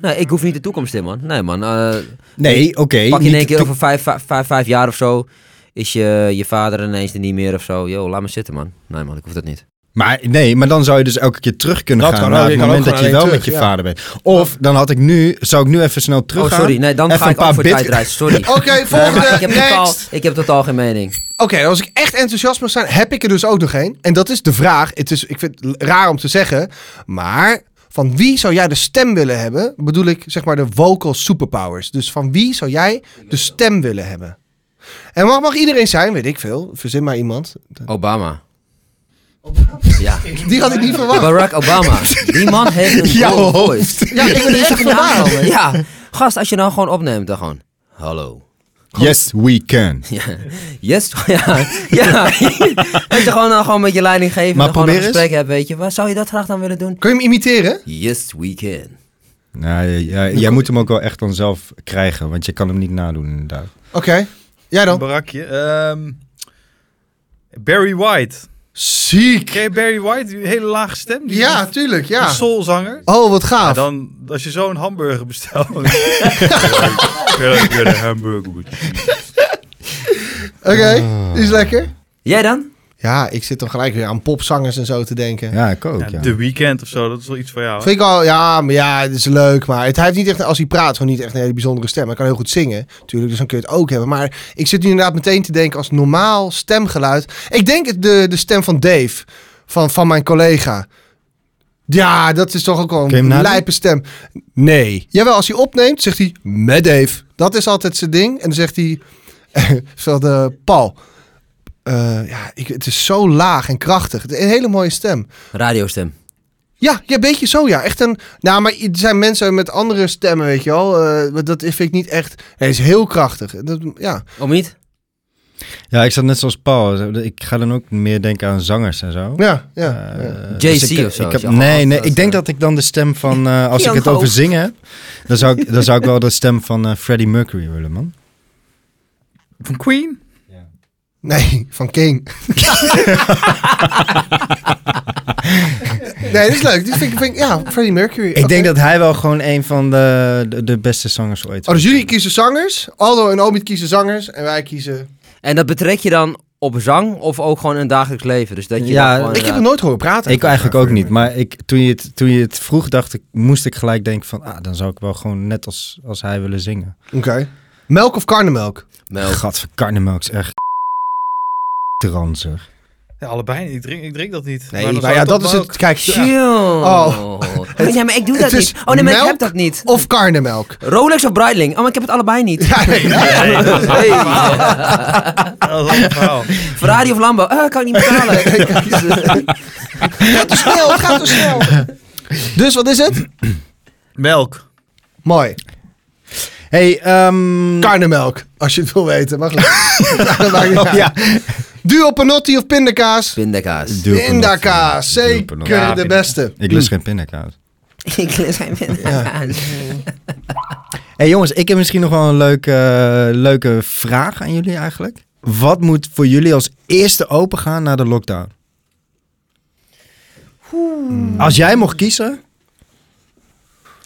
Speaker 2: Nee, ik hoef niet de toekomst in, man. Nee, man. eh,
Speaker 1: Nee, oké.
Speaker 2: pak je in
Speaker 1: niet
Speaker 2: één keer
Speaker 1: de
Speaker 2: over vijf, vijf, vijf, vijf jaar of zo. Is je, je vader ineens er niet meer of zo. Yo, laat me zitten, man. Nee, man, ik hoef dat niet.
Speaker 1: Maar nee, maar dan zou je dus elke keer terug kunnen
Speaker 4: Dat
Speaker 1: gaan
Speaker 4: kan
Speaker 1: naar
Speaker 4: ook,
Speaker 1: het
Speaker 4: je kan
Speaker 1: moment
Speaker 4: ook
Speaker 1: dat je
Speaker 4: gewoon
Speaker 1: wel
Speaker 4: alleen
Speaker 1: met je
Speaker 4: terug, ja.
Speaker 1: vader bent. Of dan had ik nu, zou ik nu even snel terug
Speaker 2: Oh, sorry. Nee, dan
Speaker 1: Even
Speaker 2: ga
Speaker 1: een
Speaker 2: ik
Speaker 1: paar
Speaker 2: ook voor
Speaker 1: bit- *laughs*
Speaker 2: tijdreizen. Sorry.
Speaker 4: *laughs* Oké, volgende.
Speaker 2: Maar ik, heb
Speaker 4: next.
Speaker 2: totaal, ik heb totaal geen mening.
Speaker 4: Oké, als ik echt enthousiast mag zijn, heb ik er dus ook nog één. En dat is de vraag. Het is, ik vind het raar om te zeggen, maar van wie zou jij de stem willen hebben? Bedoel ik zeg maar de vocal superpowers. Dus van wie zou jij de stem willen hebben? En mag, mag iedereen zijn, weet ik veel. Verzin maar iemand.
Speaker 2: Obama. Ja.
Speaker 4: Die had ik niet verwacht.
Speaker 2: Barack
Speaker 4: *laughs*
Speaker 2: Obama. Die man heeft een
Speaker 1: Jouw
Speaker 2: golden
Speaker 1: hoofd.
Speaker 2: voice.
Speaker 4: Ja, ik ben er echt verbaasd.
Speaker 2: Ja, ja. Gast, als je nou gewoon opneemt, dan gewoon. Hallo.
Speaker 1: Yes, we can.
Speaker 2: Ja. Yes, *laughs* ja.
Speaker 4: *laughs*
Speaker 2: ja. dat je gewoon, dan gewoon met je leiding geven.
Speaker 1: Maar
Speaker 2: en gewoon een
Speaker 1: probeer eens.
Speaker 2: gesprek hebt, weet je. Waar zou je dat graag dan willen doen?
Speaker 4: Kun je hem imiteren?
Speaker 2: Yes, we can.
Speaker 1: Nou, ja, ja, jij moet hem ook wel echt dan zelf krijgen, want je kan hem niet nadoen inderdaad.
Speaker 4: Oké, jij dan.
Speaker 3: Barakje. ehm, Barry White.
Speaker 4: Ziek.
Speaker 3: Ken je Barry White? Die hele lage stem. Die
Speaker 4: Ja, tuurlijk,
Speaker 3: Die
Speaker 4: ja.
Speaker 3: soulzanger.
Speaker 4: Oh, wat
Speaker 3: Ja,
Speaker 4: gaaf.
Speaker 3: dan, als je zo'n hamburger *laughs* bestelt. dan- Ik wil een hamburger with cheese.
Speaker 4: Oké, is lekker.
Speaker 2: Jij dan?
Speaker 4: Ja, ik zit dan gelijk weer aan popzangers en zo te denken.
Speaker 1: Ja, ik ook.
Speaker 3: Ja,
Speaker 1: Ja.
Speaker 3: The Weeknd of zo, dat is wel iets voor jou. hè?
Speaker 4: Vind ik al, ja, maar ja, het is leuk. Maar het, hij heeft niet echt, als hij praat, gewoon niet echt een hele bijzondere stem. Hij kan heel goed zingen, natuurlijk. Dus dan kun je het ook hebben. Maar ik zit nu inderdaad meteen te denken als normaal stemgeluid. Ik denk het de, de stem van Dave, van, van mijn collega. Ja, dat is toch ook wel
Speaker 1: je hem
Speaker 4: een
Speaker 1: nadoen?
Speaker 4: lijpe stem. Nee. Jawel, als hij opneemt, zegt hij met Dave. Dat is altijd zijn ding. En dan zegt hij, *laughs* zegt, eh, Paul. eh, ja, ik, het is zo laag en krachtig. Het is Een hele mooie stem.
Speaker 2: Radiostem.
Speaker 4: Ja, ja, een beetje zo, ja. Echt een... Nou, maar er zijn mensen met andere stemmen, weet je wel. Eh, maar dat vind ik niet echt... Hij is heel krachtig. Dat, ja.
Speaker 2: Om niet?
Speaker 1: ja, ik zat net zoals Paul. Ik ga dan ook meer denken aan zangers en zo.
Speaker 4: Ja, ja.
Speaker 1: Eh,
Speaker 4: ja.
Speaker 2: Jay-Z
Speaker 1: dus ik-
Speaker 2: of zo,
Speaker 1: ik heb-
Speaker 2: als je gewoon
Speaker 1: nee, nee,
Speaker 2: altijd,
Speaker 1: ik denk
Speaker 2: eh,
Speaker 1: dat ik dan de stem
Speaker 4: *laughs*
Speaker 1: van, eh, als ik
Speaker 2: Jan
Speaker 1: het over
Speaker 2: Hoog.
Speaker 1: zingen heb, dan zou ik, dan zou ik wel de stem van eh, Freddie Mercury willen, man.
Speaker 4: *laughs*
Speaker 3: Van Queen?
Speaker 4: Nee, van *laughs* King. nee, dat is leuk. Die vind ik... Vind ik ja, Freddie Mercury.
Speaker 1: Ik denk dat hij wel gewoon een van de, de, de beste zangers ooit
Speaker 4: Oh, dus jullie kiezen zangers. Aldo en Omid kiezen zangers. En wij kiezen...
Speaker 2: En dat betrek je dan op zang of ook gewoon in het dagelijks leven? Dus dat je
Speaker 1: Ja,
Speaker 2: dan gewoon,
Speaker 4: Ik heb
Speaker 2: eh,
Speaker 4: hem nooit horen praten.
Speaker 1: Ik eigenlijk ook niet, maar ik, toen, je het, toen je het vroeg, dacht ik, moest ik gelijk denken van, ah, dan zou ik wel gewoon net als, als hij willen zingen.
Speaker 4: Oké. Melk of karnemelk?
Speaker 2: melk.
Speaker 1: Gadverkarnemelk is echt ranzig.
Speaker 3: Hé, Ja, allebei. niet. Ik drink, ik drink dat niet.
Speaker 2: Nee,
Speaker 3: dan
Speaker 2: maar
Speaker 4: Nou *laughs*
Speaker 3: zou
Speaker 4: ja,
Speaker 3: het
Speaker 4: dat is
Speaker 3: toch
Speaker 4: het. Kijk,
Speaker 2: Chill.
Speaker 4: Oh.
Speaker 2: ja, maar ik doe
Speaker 4: het
Speaker 2: dat
Speaker 4: is
Speaker 2: niet. Oh nee, maar ik
Speaker 4: melk
Speaker 2: heb dat niet.
Speaker 4: Of karnemelk.
Speaker 2: Rolex of Breitling? Oh, maar ik heb het allebei niet.
Speaker 4: Ja, nee, ja.
Speaker 3: Nee,
Speaker 4: *laughs*
Speaker 3: dat is
Speaker 2: Hey.
Speaker 3: wel- dat is wel een verhaal.
Speaker 2: *laughs* Ferrari of Lambo? Eh, kan ik niet betalen.
Speaker 4: *laughs*
Speaker 2: *laughs*
Speaker 5: Gaat te snel, gaat te snel.
Speaker 4: Dus wat is het?
Speaker 3: Melk.
Speaker 4: Mooi.
Speaker 1: Hey, ehm
Speaker 4: Karnemelk, als je het wil weten. Mag *laughs* ja, dat maakt niet uit.
Speaker 1: ja.
Speaker 4: Duo panotti of pindakaas?
Speaker 2: Pindakaas.
Speaker 1: Duurpenotti.
Speaker 4: Pindakaas,
Speaker 1: Duurpenotti.
Speaker 4: zeker de beste.
Speaker 1: Ik lust geen pindakaas.
Speaker 2: Ik zijn pindakaas.
Speaker 1: Hey jongens, ik heb misschien nog wel een leuke, eh, leuke vraag aan jullie eigenlijk. Wat moet voor jullie als eerste opengaan na de lockdown? Als jij mocht kiezen,
Speaker 3: Ja,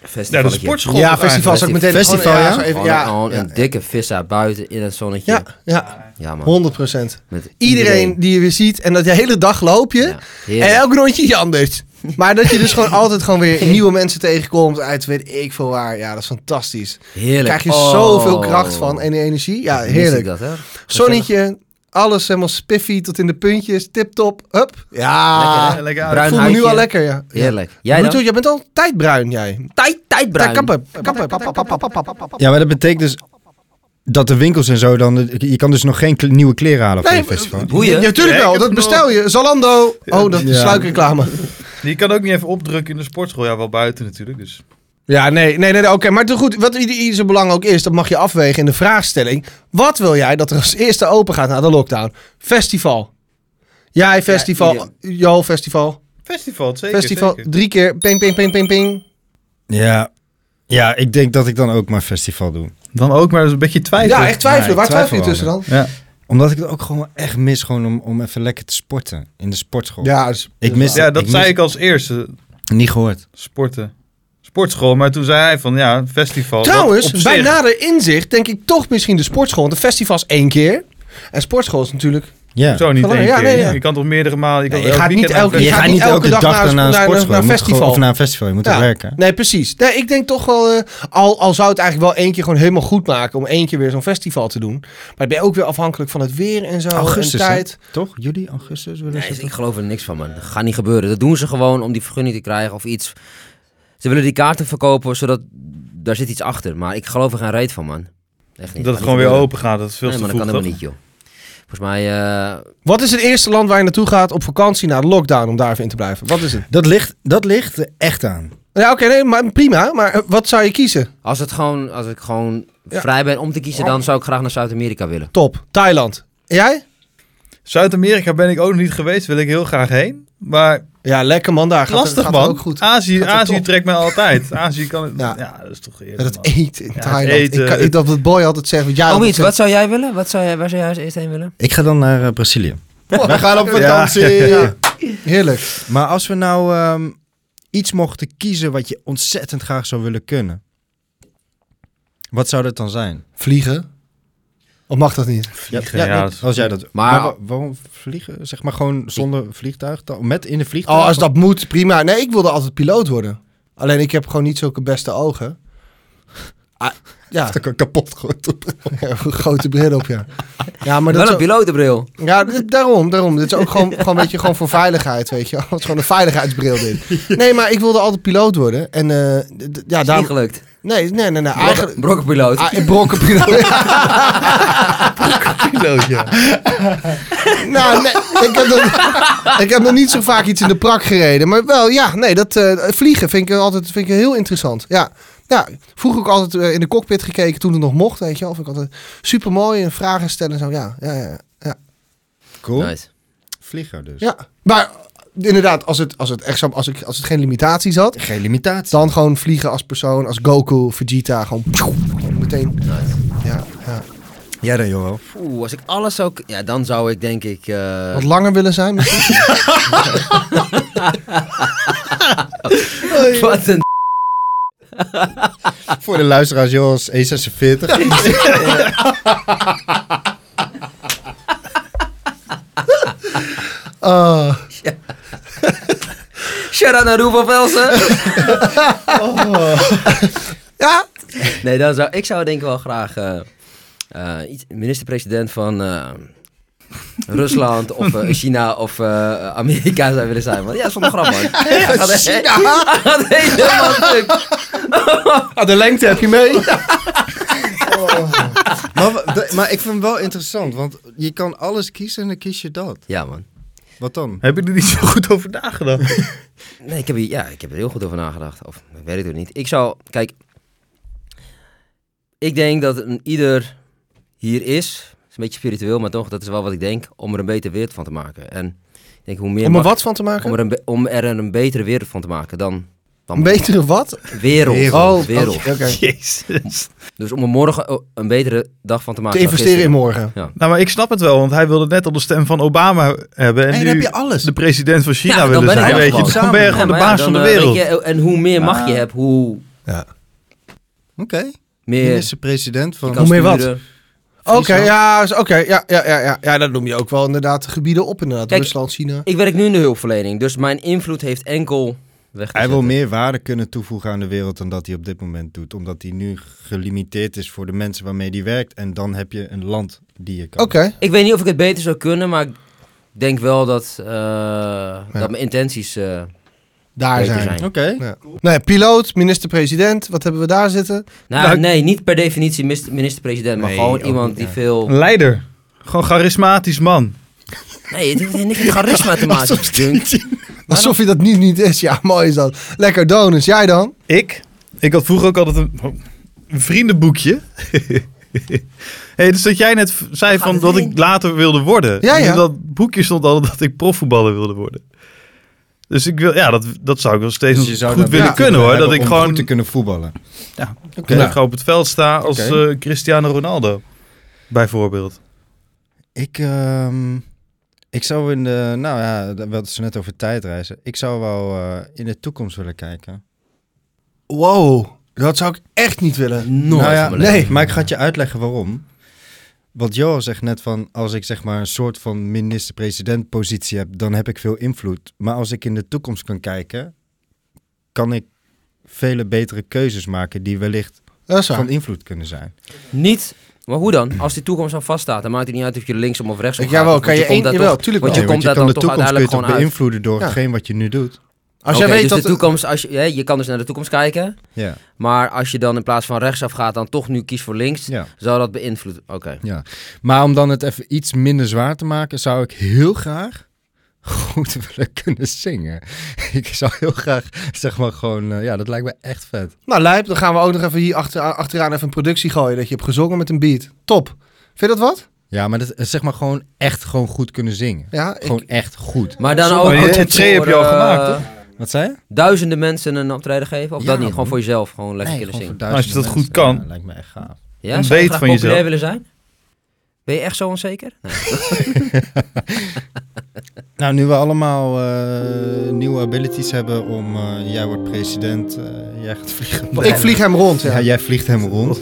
Speaker 3: de
Speaker 2: Festivalletje.
Speaker 3: sportschool.
Speaker 4: Ja,
Speaker 3: toch
Speaker 4: festival zou ik meteen...
Speaker 1: Festival,
Speaker 4: gewoon-
Speaker 1: ja?
Speaker 4: zo even-
Speaker 2: Gewoon
Speaker 4: ja,
Speaker 2: gewoon een dikke vis uit buiten in het zonnetje.
Speaker 4: ja, ja,
Speaker 2: Ja, man.
Speaker 4: 100 procent.
Speaker 2: Met
Speaker 4: Iedereen die je weer ziet en dat je de hele dag loop je.
Speaker 2: Ja, heerlijk.
Speaker 4: En elk rondje iets anders. Maar dat je dus *laughs* gewoon altijd gewoon weer nieuwe mensen tegenkomt uit weet ik veel waar. Ja, dat is fantastisch.
Speaker 2: Heerlijk.
Speaker 4: Daar krijg je
Speaker 2: Oh.
Speaker 4: zoveel kracht van en energie. Ja,
Speaker 2: Mis ik
Speaker 4: heerlijk.
Speaker 2: Dat, hè?
Speaker 4: Zonnetje, alles helemaal spiffy tot in de puntjes, tip top, hup.
Speaker 2: Lekker,
Speaker 4: Ja,
Speaker 2: hè?
Speaker 3: lekker
Speaker 4: ik
Speaker 2: Bruin
Speaker 4: voel me nu
Speaker 2: huidje.
Speaker 4: al lekker. Ja.
Speaker 2: Heerlijk.
Speaker 4: Ja.
Speaker 2: Jij dan?
Speaker 4: Bruto, jij bent altijd bruin, jij.
Speaker 2: Tijd, tijdbruin.
Speaker 4: Kappen, kappen, kappen, kappen, kappen, kappen.
Speaker 1: Ja, maar dat betekent dus dat de winkels en zo dan... Je kan dus nog geen kle- nieuwe kleren halen voor
Speaker 4: Nee,
Speaker 1: je festival.
Speaker 2: Boeien.
Speaker 4: Ja, natuurlijk
Speaker 3: Ja, ik
Speaker 4: wel.
Speaker 3: heb
Speaker 4: Dat
Speaker 3: het
Speaker 4: bestel je. Zalando. Oh, dat
Speaker 1: Ja.
Speaker 4: is sluikreclame.
Speaker 3: Je kan ook niet even opdrukken in de sportschool. Ja, wel buiten natuurlijk. Dus.
Speaker 4: Ja, nee, nee, nee, nee, oké. Maar te goed, wat ieder ieder zijn belang ook is, dat mag je afwegen in de vraagstelling. Wat wil jij dat er als eerste open gaat na de lockdown? Festival. Jij festival.
Speaker 2: Ja,
Speaker 4: Jo, festival.
Speaker 3: Festival, zeker.
Speaker 4: Festival.
Speaker 3: zeker.
Speaker 4: Drie keer. Ping, ping, ping, ping, ping.
Speaker 1: Ja. ja, ik denk dat ik dan ook mijn festival doe.
Speaker 3: Dan ook maar eens een beetje twijfelen.
Speaker 4: Ja, echt twijfelen.
Speaker 1: Ja,
Speaker 4: Waar twijfel je
Speaker 1: twijfel
Speaker 4: tussen dan?
Speaker 3: Ja.
Speaker 1: Omdat ik het ook gewoon echt mis gewoon om, om even lekker te sporten in de sportschool.
Speaker 4: Ja, dus-
Speaker 1: Ik mis
Speaker 3: Ja, dat
Speaker 1: ik
Speaker 3: zei
Speaker 1: mis-
Speaker 3: ik als eerste.
Speaker 1: Niet gehoord.
Speaker 3: Sporten. Sportschool. Maar toen zei hij van ja, festival. dat op
Speaker 4: Trouwens,
Speaker 3: zich-
Speaker 4: bij nader inzicht denk ik toch misschien de sportschool. Want de festival is één keer. En sportschool is natuurlijk...
Speaker 1: Ja.
Speaker 3: Zo niet
Speaker 4: Gewoon,
Speaker 3: één
Speaker 4: ja,
Speaker 3: keer.
Speaker 4: nee, ja.
Speaker 3: Je kan toch meerdere malen. Je, kan
Speaker 4: Nee, je
Speaker 3: elk
Speaker 4: gaat niet
Speaker 3: weekend
Speaker 4: elke-
Speaker 3: naar
Speaker 1: Je
Speaker 3: een
Speaker 4: gaat
Speaker 1: gaat
Speaker 4: niet
Speaker 1: niet elke,
Speaker 4: elke
Speaker 1: dag,
Speaker 4: dag naar
Speaker 1: naar, een
Speaker 4: een-
Speaker 1: sportschool.
Speaker 4: naar een
Speaker 1: Je moet
Speaker 4: festival.
Speaker 1: gewoon- Of naar een festival. Je moet
Speaker 4: Ja. Nou,
Speaker 1: ook werken.
Speaker 4: Nee, precies. Nee, ik denk toch wel... eh, al, al zou het eigenlijk wel één keer gewoon helemaal goed maken... om één keer weer zo'n festival te doen. Maar dan ben je ook weer afhankelijk van het weer en zo.
Speaker 1: Augustus,
Speaker 4: en
Speaker 1: hè?
Speaker 4: tijd.
Speaker 1: Toch? Juli, augustus? willen
Speaker 2: Nee,
Speaker 1: ze-
Speaker 2: ik geloof er niks van, man. Dat gaat niet gebeuren. Dat doen ze gewoon om die vergunning te krijgen of iets. Ze willen die kaarten verkopen, zodat... Daar zit iets achter. Maar ik geloof er geen reet van, man. Echt niet.
Speaker 3: Dat het
Speaker 2: Gaat
Speaker 3: gewoon
Speaker 2: niet
Speaker 3: weer
Speaker 2: gebeuren.
Speaker 3: open gaat. Dat is veel
Speaker 2: Nee,
Speaker 3: te
Speaker 2: maar
Speaker 3: vroeg.
Speaker 2: dat kan helemaal
Speaker 3: toch?
Speaker 2: niet, joh. Volgens mij... eh,
Speaker 4: Wat is het eerste land waar je naartoe gaat op vakantie na de lockdown om daar even in te blijven? Wat is het?
Speaker 1: Dat ligt, dat ligt er echt aan.
Speaker 4: Ja, oké, nee, maar prima. Maar eh, wat zou je kiezen?
Speaker 2: als, het gewoon, als ik gewoon
Speaker 4: Ja.
Speaker 2: vrij ben om te kiezen, dan zou ik graag naar Zuid-Amerika willen.
Speaker 4: Top. Thailand. En jij?
Speaker 3: Zuid-Amerika ben ik ook nog niet geweest. Wil ik heel graag heen. Maar
Speaker 4: Ja, lekker man. Daar gaat het-
Speaker 3: lastig
Speaker 4: gaat het
Speaker 3: man.
Speaker 4: ook goed.
Speaker 3: Azië,
Speaker 4: Gaat het
Speaker 3: Azië
Speaker 4: top.
Speaker 3: trekt mij
Speaker 4: *laughs*
Speaker 3: altijd. Azië kan het.
Speaker 4: Ja.
Speaker 3: Ja, dat is toch eerlijk.
Speaker 4: Met
Speaker 3: man.
Speaker 4: het eten in
Speaker 3: het
Speaker 4: Thailand.
Speaker 3: eten,
Speaker 4: ik, kan, ik,
Speaker 3: het-
Speaker 4: dat wat Boy altijd zegt. Wat jij
Speaker 2: oh,
Speaker 4: altijd
Speaker 2: iets.
Speaker 4: zegt.
Speaker 2: Wat zou jij willen? Wat zou jij, waar zou jij als eerst heen willen?
Speaker 1: Ik ga dan naar eh, Brazilië.
Speaker 4: *laughs* Wij
Speaker 2: *laughs*
Speaker 4: gaan op
Speaker 3: vakantie.
Speaker 4: Ja. Heerlijk.
Speaker 1: Maar als we nou ehm, iets mochten kiezen wat je ontzettend graag zou willen kunnen. Wat zou dat dan zijn?
Speaker 4: Vliegen. Of mag dat niet?
Speaker 3: Vliegen, ja, dat is-
Speaker 1: als jij dat.
Speaker 2: Maar-
Speaker 1: Maar, wa- waarom vliegen? Zeg maar gewoon zonder vliegtuig? dan- Met in de
Speaker 4: Oh,
Speaker 1: vliegtuig?
Speaker 4: als dat moet, prima. Nee, ik wilde altijd piloot worden. Alleen ik heb gewoon niet zulke beste ogen. Ah, ja,
Speaker 1: Of dat ik kapot gooit.
Speaker 4: *laughs* een grote bril op, ja. Ja, maar dat
Speaker 2: Wel
Speaker 4: is
Speaker 2: een pilotenbril.
Speaker 4: ook- ja, d- daarom, daarom. Dit is ook gewoon, gewoon, weet je, gewoon voor veiligheid, weet je. wel. Het is gewoon een veiligheidsbril, *laughs* dit. Nee, maar ik wilde altijd piloot worden. En eh, d- d- ja,
Speaker 2: Is niet
Speaker 4: daarom...
Speaker 2: gelukt.
Speaker 4: Nee, nee, nee, nee.
Speaker 2: Brok-
Speaker 4: Eigenlijk...
Speaker 2: Brokkenpiloot.
Speaker 4: Ah, brokkenpiloot.
Speaker 3: Piloot, ja.
Speaker 4: Nou, nee, ik, heb nog, ik heb nog niet zo vaak iets in de prak gereden. Maar wel, ja, nee, dat eh, vliegen vind ik altijd vind ik heel interessant. Ja, ja vroeger ook altijd eh, in de cockpit gekeken toen het nog mocht, weet je wel. Vind ik altijd super mooi en vragen stellen en zo. Ja, ja, ja. ja.
Speaker 1: Cool.
Speaker 2: Nice.
Speaker 1: Vliegen dus.
Speaker 4: ja. Maar inderdaad, als het, als het echt zo, als, ik, als het geen limitaties had,
Speaker 1: Geen limitatie.
Speaker 4: dan gewoon vliegen als persoon, als Goku, Vegeta, gewoon meteen. Ja, ja.
Speaker 1: Ja, dan joh.
Speaker 2: Oeh, als ik alles zou... k- Ja, dan zou ik denk ik... eh,
Speaker 4: Wat langer willen zijn. misschien?
Speaker 2: *laughs* wat een
Speaker 1: *laughs* Voor de luisteraars, joh, is 1,46.
Speaker 4: Ah.
Speaker 2: Shout-out naar Roel van Velsen.
Speaker 4: Ja,
Speaker 2: Nee,
Speaker 4: *laughs*
Speaker 2: dan zou, ik zou denk ik wel graag eh, eh, iets- minister-president van eh, Rusland of eh, China of eh, Amerika zou willen zijn. Man. Ja, zonder grap, man. Hij gaat echt- hij gaat helemaal stuk.
Speaker 4: Ah, de lengte heb je mee.
Speaker 1: Maar, wa- de- maar ik vind hem wel interessant, want je kan alles kiezen en dan kies je dat.
Speaker 2: Ja, man.
Speaker 1: Wat dan?
Speaker 3: Heb je er niet zo goed over
Speaker 4: *laughs*
Speaker 3: nagedacht?
Speaker 2: Nee, ik heb, hier- ja, ik heb er heel goed over nagedacht. Of ik weet het ook niet. Ik zou, kijk, ik denk dat een ieder hier is. Het is een beetje spiritueel, maar toch, dat is wel wat ik denk. Om er een betere wereld van te maken. En ik denk hoe meer.
Speaker 4: Om er
Speaker 2: macht-
Speaker 4: wat van te maken?
Speaker 2: om, er een, be- om er een betere wereld van te maken dan. dan
Speaker 4: Een betere wat?
Speaker 2: wereld.
Speaker 1: Wereld.
Speaker 2: Oh, wereld.
Speaker 4: Oké.
Speaker 3: Jezus.
Speaker 2: Dus om er morgen oh, een betere dag van te maken.
Speaker 4: Te
Speaker 2: dan
Speaker 4: investeren in
Speaker 2: gisteren.
Speaker 4: morgen.
Speaker 3: Nou, maar ik snap het wel, want hij wilde net al de stem van Obama hebben. En,
Speaker 1: En
Speaker 3: nu
Speaker 1: dan heb je alles.
Speaker 3: de president van China
Speaker 2: Ja, dan
Speaker 3: willen
Speaker 2: ben ik
Speaker 3: zijn.
Speaker 2: dat
Speaker 3: Weet je,
Speaker 2: gewoon.
Speaker 3: dan ben je
Speaker 1: Ja,
Speaker 3: gewoon de
Speaker 2: maar ja,
Speaker 3: baas van de
Speaker 2: dan, eh,
Speaker 3: wereld.
Speaker 2: weet je, en hoe meer macht je
Speaker 3: Ah.
Speaker 2: hebt, hoe
Speaker 1: Oké,
Speaker 2: meer.
Speaker 1: minister-president van...
Speaker 2: je
Speaker 4: Hoe
Speaker 2: kan
Speaker 4: meer wat?
Speaker 2: sturen.
Speaker 4: Oké,
Speaker 2: Friesland.
Speaker 4: ja, is- oké, ja, ja, ja, ja, ja, dat noem je ook wel inderdaad gebieden op inderdaad.
Speaker 2: Kijk,
Speaker 4: Rusland, China.
Speaker 2: Ik werk nu in de hulpverlening, dus mijn invloed heeft enkel weg. te
Speaker 1: Hij wil
Speaker 2: zetten.
Speaker 1: meer waarde kunnen toevoegen aan de wereld dan dat hij op dit moment doet. Omdat hij nu gelimiteerd is voor de mensen waarmee hij werkt. En dan heb je een land die je kan.
Speaker 4: Oké,
Speaker 2: Ik weet niet of ik het beter zou kunnen, maar ik denk wel dat, eh, dat mijn intenties eh,
Speaker 4: daar
Speaker 2: beter
Speaker 4: zijn.
Speaker 2: zijn.
Speaker 1: Oké.
Speaker 4: Ja. Nee, piloot, minister-president, wat hebben we daar zitten?
Speaker 2: Nou,
Speaker 3: Nou, ik-
Speaker 2: nee, niet per definitie mis- minister-president, maar
Speaker 1: Nee,
Speaker 2: gewoon
Speaker 1: ook
Speaker 2: iemand
Speaker 1: niet,
Speaker 2: die
Speaker 1: ja.
Speaker 2: veel...
Speaker 3: Een leider. Gewoon charismatisch man.
Speaker 2: Nee, het heeft niks met charisma te maken. Junk.
Speaker 4: Alsof je dat nu niet is. Ja, mooi is dat. Lekker donuts. Jij dan?
Speaker 3: Ik? Ik had vroeger ook altijd een, oh, een vriendenboekje. *laughs* hey, dus dat jij net v- zei
Speaker 2: gaat
Speaker 3: van
Speaker 2: het
Speaker 3: dat
Speaker 2: heen?
Speaker 3: ik later wilde worden.
Speaker 4: Ja,
Speaker 3: En
Speaker 4: ja.
Speaker 3: In dat boekje stond al dat ik profvoetballer wilde worden. Dus ik wil, ja, dat, dat zou ik wel steeds
Speaker 1: Dus je zou
Speaker 3: goed
Speaker 1: daar
Speaker 3: willen
Speaker 1: wel
Speaker 3: kunnen hoor. Dat
Speaker 1: hebben
Speaker 3: ik
Speaker 1: om
Speaker 3: gewoon
Speaker 1: goed te kunnen voetballen.
Speaker 3: dat ik gewoon op het veld sta als
Speaker 1: Oké.
Speaker 3: eh, Cristiano Ronaldo. Bijvoorbeeld.
Speaker 1: Ik, ehm, ik zou in de... Nou ja, we hadden ze net over tijdreizen. Ik zou wel eh, in de toekomst willen kijken.
Speaker 4: Wow, dat zou ik echt niet willen.
Speaker 2: Nooit
Speaker 1: Nou ja,
Speaker 2: van mijn leven.
Speaker 1: nee, maar ik ga het je uitleggen waarom. Want Johan zegt net van, als ik zeg maar een soort van minister-president positie heb, dan heb ik veel invloed. Maar als ik in de toekomst kan kijken, kan ik vele betere keuzes maken die wellicht
Speaker 4: Dat is waar.
Speaker 1: van invloed kunnen zijn.
Speaker 2: Niet... Maar hoe dan? Als die toekomst aan vaststaat, dan maakt het niet uit of je linksom of rechtsom
Speaker 4: Ik-
Speaker 2: gaat.
Speaker 4: jawel,
Speaker 2: want
Speaker 4: kan je
Speaker 2: komt
Speaker 4: één-
Speaker 2: daar
Speaker 4: jawel,
Speaker 2: toch-
Speaker 4: tuurlijk
Speaker 2: Want
Speaker 4: wel.
Speaker 2: je
Speaker 1: Nee,
Speaker 2: komt
Speaker 1: kan
Speaker 2: daar dan
Speaker 1: de
Speaker 2: toch
Speaker 1: toekomst kun je
Speaker 2: uiteindelijk
Speaker 1: toch
Speaker 2: gewoon uit.
Speaker 1: beïnvloeden door
Speaker 4: Ja.
Speaker 1: hetgeen wat je nu doet.
Speaker 4: Als
Speaker 2: Oké,
Speaker 4: jij weet
Speaker 2: dus
Speaker 4: dat...
Speaker 2: de toekomst, als je, hè, je kan dus naar de toekomst kijken.
Speaker 1: Ja,
Speaker 2: Maar als je dan in plaats van rechtsaf gaat, dan toch nu kiest voor links,
Speaker 1: ja,
Speaker 2: zou dat beïnvloeden. Oké.
Speaker 1: ja. Maar om dan het even iets minder zwaar te maken, zou ik heel graag goed *laughs* willen kunnen zingen. Ik zou heel graag, zeg maar gewoon, eh, ja, dat lijkt me echt vet.
Speaker 4: Nou, Lijp, dan gaan we ook nog even hier achteraan, achteraan even een productie gooien. Dat je hebt gezongen met een beat. Top. Vind je dat wat?
Speaker 1: Ja, maar dat is zeg maar gewoon echt gewoon goed kunnen zingen.
Speaker 4: Ja, ik...
Speaker 1: Gewoon echt goed.
Speaker 2: Maar dan
Speaker 4: Sommige-
Speaker 2: ook...
Speaker 3: Maar je-
Speaker 2: ook
Speaker 3: het tree heb je al
Speaker 2: voor, eh,
Speaker 3: gemaakt, toch?
Speaker 1: Wat zei je?
Speaker 2: duizenden mensen een optreden geven? Of
Speaker 1: Ja,
Speaker 2: dat niet?
Speaker 1: man.
Speaker 2: Gewoon voor jezelf. Gewoon lekker kunnen
Speaker 1: gewoon
Speaker 2: zingen.
Speaker 1: voor duizenden
Speaker 3: Als je dat goed
Speaker 1: mensen.
Speaker 3: kan.
Speaker 1: Ja, lijkt me echt gaaf.
Speaker 2: Ja,
Speaker 3: Een
Speaker 2: zou je
Speaker 3: weet
Speaker 2: graag
Speaker 3: van
Speaker 2: populair
Speaker 3: jezelf.
Speaker 2: willen zijn? Ben je echt zo onzeker? Nee.
Speaker 1: Nou, nu we allemaal eh, nieuwe abilities hebben om... eh, jij wordt president, eh, jij gaat vliegen.
Speaker 4: ik vlieg hem rond.
Speaker 1: Ja,
Speaker 4: Ja.
Speaker 1: jij vliegt hem rond.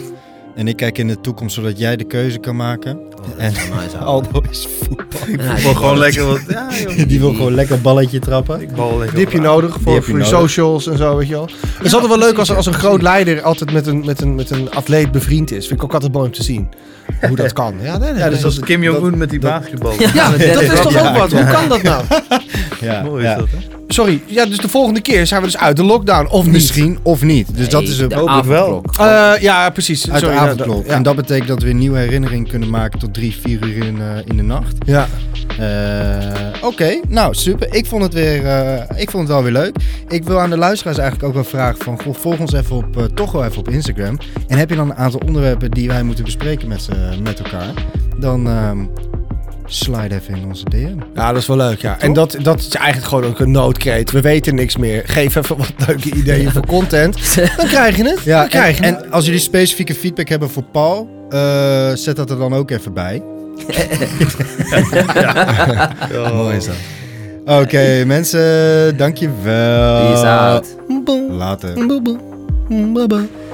Speaker 1: En ik kijk in de toekomst, zodat jij de keuze kan maken.
Speaker 2: Oh, dat
Speaker 1: En-
Speaker 2: is wel nice, ouwe.
Speaker 1: *laughs* Aldo is voetbal.
Speaker 2: Ja,
Speaker 3: Ik
Speaker 2: die-
Speaker 3: wil gewoon lekker wat... Ja, joh.
Speaker 1: Die wil gewoon lekker balletje trappen.
Speaker 3: Ik bal lekker
Speaker 4: Die heb je
Speaker 3: op.
Speaker 4: nodig voor,
Speaker 1: heb je
Speaker 4: voor je
Speaker 1: nodig.
Speaker 4: socials en zo, weet je wel. het is altijd wel leuk als, als een groot leider altijd met een, met, een, met een atleet bevriend is. Vind ik ook altijd mooi om te zien. Hoe *laughs* dat kan. Ja, nee, nee,
Speaker 3: Ja,
Speaker 4: nee.
Speaker 3: dus als Kim Jong-un met die basketbal.
Speaker 4: Ja,
Speaker 2: met
Speaker 4: dat
Speaker 2: Dennis
Speaker 4: is toch
Speaker 2: Rodman.
Speaker 4: ook wat? Hoe kan dat nou?
Speaker 1: Ja,
Speaker 3: Mooi is
Speaker 1: ja.
Speaker 3: dat, hè?
Speaker 4: Sorry, ja, dus de volgende keer zijn we dus uit de lockdown. Of misschien.
Speaker 1: Misschien of niet. Dus dat
Speaker 2: Nee,
Speaker 1: is een
Speaker 2: de
Speaker 1: hoop
Speaker 2: avondklok.
Speaker 4: Eh, ja, precies.
Speaker 1: uit de
Speaker 4: Sorry, ja,
Speaker 1: avondklok.
Speaker 4: Ja,
Speaker 1: En dat betekent dat we een nieuwe herinnering kunnen maken tot drie, vier uur in, eh, in de nacht.
Speaker 4: ja.
Speaker 1: Eh, Oké, nou super. Ik vond, het weer, eh, ik vond het wel weer leuk. Ik wil aan de luisteraars eigenlijk ook wel vragen van... goh, volg ons even op, eh, toch wel even op Instagram. En heb je dan een aantal onderwerpen die wij moeten bespreken met, z'n- met elkaar... dan ehm, slide even in onze DM.
Speaker 4: ja, dat is wel leuk. Ja. En dat, dat is eigenlijk gewoon ook een noodkreet. We weten niks meer. Geef even wat leuke ideeën *laughs* voor content. Dan krijg je het.
Speaker 1: Ja,
Speaker 4: dan krijg je
Speaker 1: en,
Speaker 4: het.
Speaker 1: en als jullie specifieke feedback hebben voor Paul... eh, zet dat er dan ook even bij. *laughs*
Speaker 3: Ja.
Speaker 1: Oké, mensen, dankjewel.
Speaker 2: Die is uit.
Speaker 1: Uh,
Speaker 4: Boem,
Speaker 1: Later.
Speaker 4: boem, boem, boem, boem.